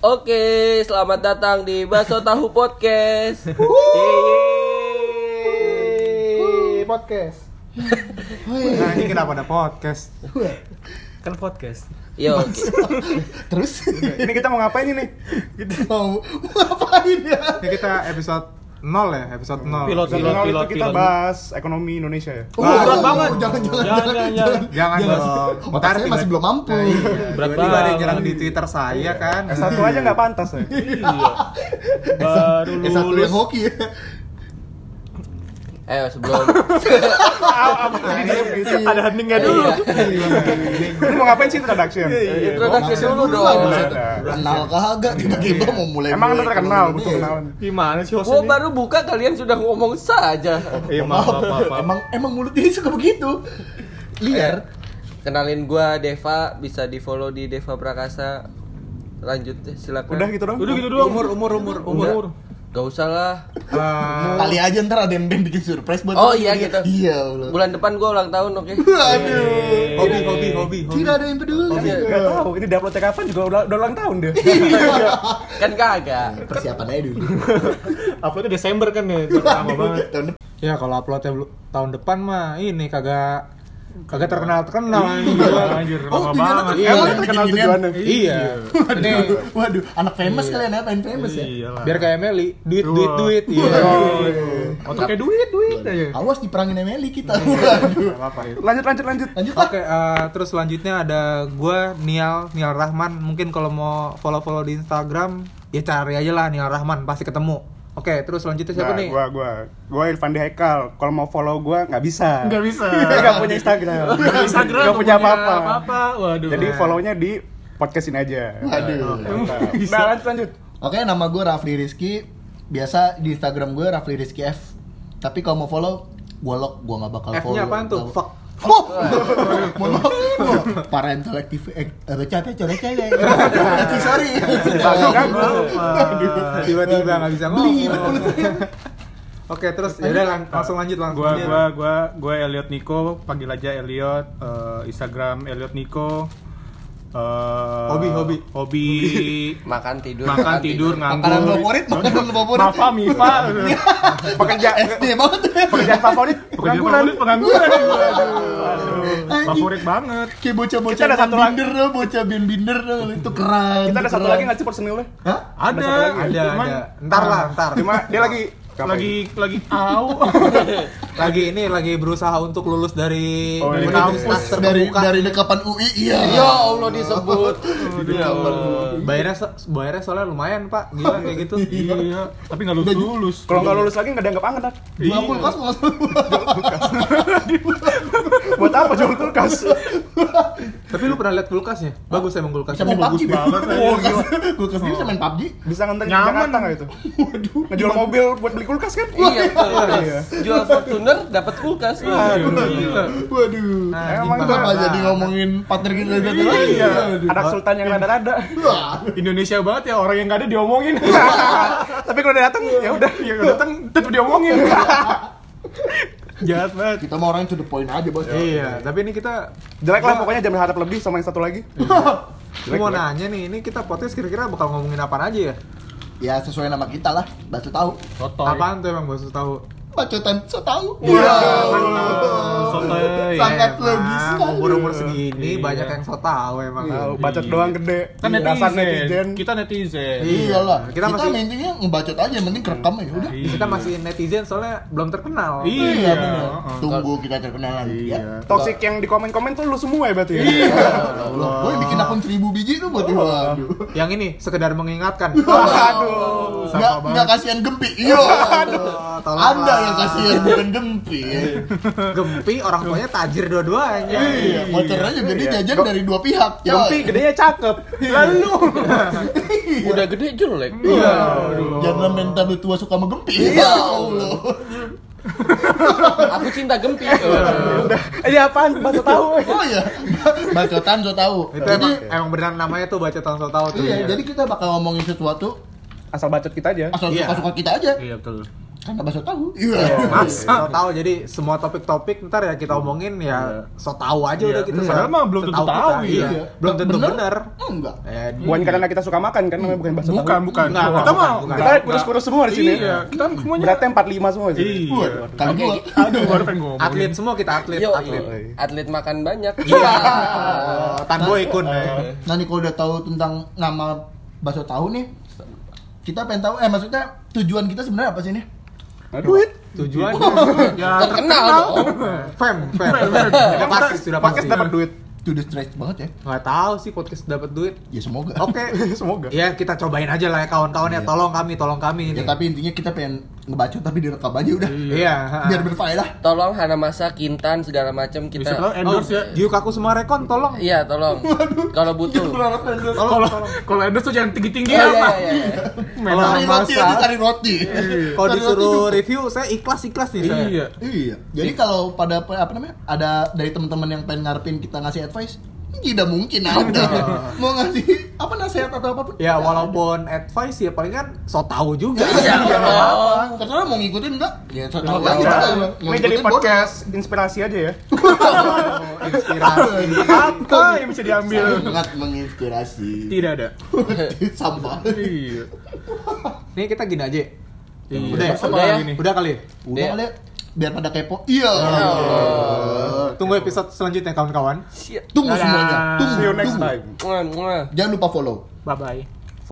Oke, selamat datang di Baso Tahu Podcast. Wih, podcast. Nah ini kenapa ada podcast? kan podcast Yo, oke. Terus Ini kita mau ngapain ini? mau ngapain ya? Ya kita episode 0 ya, episode 0 Pilot, episode pilot, nol pilot, itu kita pilot. bahas ekonomi Indonesia ya? Oh, Wah, berat banget. Jangan jangan Jangan, jangan. jangan, jangan. Jangan Jangan. dong Otak saya Ntar masih tiba- belum mampu. Nah, iya. Berat Tiba-tiba ada yang banget. nyerang di Twitter saya kan S1 aja nggak pantas ya. iya baru Eh, satu yang lulus hoki. ya. Ayo sebelum Nah, ada heningan dulu Iya. Iya. Lu mau ngapain sih introduction? iya, introduksi dulu dong. Dulu Ada. Kenal kagak tiba-tiba mau mulai. Emang lu terkenal, butuh Iya. kenalan. gimana sih host Gua ini? baru buka kalian sudah ngomong saja. eh Iya, maaf maaf, maaf, maaf. Emang emang mulut ini suka begitu. Liar. Kenalin gua Deva, bisa di-follow di Deva Prakasa. Lanjut silakan. Udah gitu dong. udah gitu doang Umur, umur, umur, Enggak. umur Gak usah lah. Eh, Kali aja ntar ada yang yang bikin surprise buat Oh kita. iya gitu. Iya, Allah. Bulan depan gua ulang tahun, oke. Aduh. Hobi, hobi, hobi hobi. Tidak ada yang peduli. Iya. Gak tahu, ini di-upload kapan juga udah, udah ulang tahun dia. Kan kagak. Persiapan aja dulu. uploadnya Desember kan ya lama banget Tahun depan. Ya kalau uploadnya belu- tahun depan mah ini kagak Kagak terkenal-terkenal anjing. anjir lama banget Iya. Emang itu kenal Gini-ginian. tujuannya. Iya Ini Waduh, waduh, anak famous kalian ya, main famous ya. iya lah biar kayak Meli duit duit duit iya otaknya duit duit aja Iya. Awas diperangin Emily kita. Waduh. Lanjut lanjut Iya. lanjut. Lanjut Pak. Oke, eh, terus selanjutnya ada gua Nial, Nial Rahman. Mungkin kalau mau follow-follow di Instagram, ya cari aja lah Nial Rahman, pasti ketemu. Oke, terus selanjutnya siapa Nah, nih? gua gua gua Irfan Hekal. Kalau mau follow gua nggak bisa. Nggak bisa. Nggak punya Instagram. Instagram Nggak punya apa-apa. Nah. apa waduh Jadi follow-nya di podcast ini aja. Waduh. Nah, lanjut lanjut. Oke, nama gue Rafli Rizky. Biasa di Instagram gue Rafli Rizky F. Tapi kalau mau follow, golok gue nggak bakal follow. F-nya apaan tuh? Tahu. Fuck. iya. Oh, mohon maaf. Oh, Parental active, eh, capek, corek, corek. ya. Sorry. Langsung kan? Tiba-tiba nggak bisa Belibet mulut ngomong. Oke, terus ya udah lang- langsung lanjut langsung. gua Nial. gua gua gua Elliot Niko panggil aja Elliot eh, Instagram Elliot Niko Eh, Hobi, hobi. hobi Makan tidur. makan tidur Makanan nganggur favorit, makanan favorit. Mafa Mifa Pekerja SD banget. pekerjaan favorit pengangguran pengangguran. pengangguran Anjing. favorit banget Kayak bocah-bocah Kita ada satu lagi. binder lah, bocah bin binder lah. Itu keren. Kita ada itu satu keren. lagi nggak sih personilnya? Hah? ada ada cuman ada. Ntar lah, ntar. Cuma dia lagi lagi lagi au Lagi ini lagi berusaha untuk lulus dari Oh, iya. universitas Dari terbuka. dari dekapan UI, iya. Ya Allah disebut. Ya Allah. Bayarnya so- bayarnya soalnya lumayan, Pak. Gila kayak gitu. iya tapi nggak lulus lulus kalau nggak lulus lagi nggak dianggap anget kan? Jual kulkas langsung. Buat apa jual kulkas? Tapi lu pernah lihat kulkasnya? Bagus emang Bisa kulkasnya. main PUBG. banget. eh. Kulkas dia bisa main PUBG. Bisa nganter Nyaman. Jakarta nggak itu? Waduh. Ngejual mobil buat beli kulkas kan? Iya, betul. jual Fortuner dapat kulkas. Iya. Waduh. Nah, Emang gimana? Kenapa jadi ngomongin partner kita tadi lagi? Iya. Anak sultan yang rada-rada. Wah. Indonesia banget ya orang yang nggak ada diomongin Tapi kalau udah datang ya udah, ya udah datang tetap diomongin. jahat banget Kita mau orang to the point aja, Bos. Iya, tapi ini kita Jelek lah pokoknya jangan harap lebih sama yang satu lagi. Gue mau nanya nih, ini kita podcast kira-kira bakal ngomongin apaan aja ya? Ya sesuai nama kita lah, baca tahu. sotoy Apaan tuh emang Basu tahu? Bacotan so tahu. Iya. Nah, sotoy Sangat logis sekali. Umur umur Eh, segini Iya. banyak yang so tahu emang. Tahu, bacot doang gede. kan Dasar Iya. netizen netizen. kita netizen Iyalah. Iya Kita, Kita masih kita intinya ngebacot aja, yang penting kerekam ya udah. kita masih netizen soalnya belum terkenal. iya bener. Tunggu kita terkenalan ya. Toxic yang di komen-komen tuh lu semua ya berarti. ya? Iya. Loh, gue bikin akun seribu biji tuh buat waduh. Yang ini sekedar mengingatkan. Aduh. Nggak, nggak kasihan gempi. Iya. tolonglah. Anda yang kasihan bukan gempi. Gempi orang tuanya tajir dua-duanya. Iya, motornya juga dia jajan dari dua pihak. coy. Gempi gedenya cakep. Lalu Udah gede jelek. Jangan mental lu tua suka sama gempi. Ya Allah. Aku cinta gempi. udah. Ini Iya, apaan? Baca tahu. Oh ya, bacotan so tahu. Itu Jadi emang, Iya, emang beneran namanya tuh baca so tahu tuh. ya. Iya, jadi kita bakal ngomongin sesuatu Asal bacot kita aja. asal Iya. suka-suka kita aja. iya betul Karena bakso tahu. Iya. Iya. Masa tahu jadi semua topik-topik ntar ya kita omongin ya so tahu aja udah kita. Iya. Padahal mah belum tentu setahu tahu, kita, iya. iya. Belum tentu benar. Enggak. Eh, Bukan karena kita suka makan kan namanya bukan bakso tahu. Bukan, bukan. Enggak, kita bukan, mah bukan. Kita kurus-kurus semua di sini. Iya, kita semuanya. Beratnya 45 semua di sini. Iya. Kalau gua Aduh, baru pengen ngomong. atlet semua kita atlet, Yo, atlet. Iya. atlet makan banyak. Iya. Oh, Tanbo ikut. eh. nanti Nah, kalau udah tahu tentang nama bakso tahu nih kita pengen tahu eh maksudnya tujuan kita sebenarnya apa sih nih? Iya. Duit. Tujuannya Ya, Terkenal dong. fam, fam. Udah pasti, sudah pasti. Podcast dapat duit. To the stretch banget ya. Nggak tahu sih podcast dapat duit. Ya semoga. Oke. Semoga. Iya. Ya kita cobain aja lah ya kawan-kawan ya. Tolong kami, tolong kami ini. Ya tapi intinya kita pengen ngebaca tapi direkam aja udah. Iya. ha. Biar berfaedah. Tolong Hanamasa, Kintan segala macam Bisa tahu kita. endorse ya. Yuk aku semua rekon tolong. Iya, tolong. Kalau butuh. Kalau ya. kalau endorse tuh jangan tinggi-tinggi ya, Iya, iya, apa. iya, iya. Kalau Cari roti masa aja cari roti. kalau Cari roti disuruh juga. review saya ikhlas-ikhlas nih saya. Iya. Iya. Jadi kalau pada apa apa namanya? Ada dari teman-teman yang pengen ngarepin kita ngasih advice, tidak mungkin ada. Mau ngasih apa nasihat atau apapun. Ya walaupun advice ya paling kan so tau juga. Iya, dong. Karena mau ngikutin enggak? Ya, saya tahu Iya. aja. Mau Ini jadi ngikutin, podcast inspirasi aja ya. Inspirasi. Apa yang boleh. bisa diambil? sangat menginspirasi. Tidak ada. Sampah. Iya. Nih kita gini aja. Iya. Udah ya? Masa Udah malah ya? gini? Udah kali. ya? Udah kali ya, biar pada kepo. Iya. Tunggu episode selanjutnya kawan-kawan. Tunggu semuanya. Tunggu. See you next tunggu. iya. time. Muah, muah. Jangan lupa follow. Bye-bye.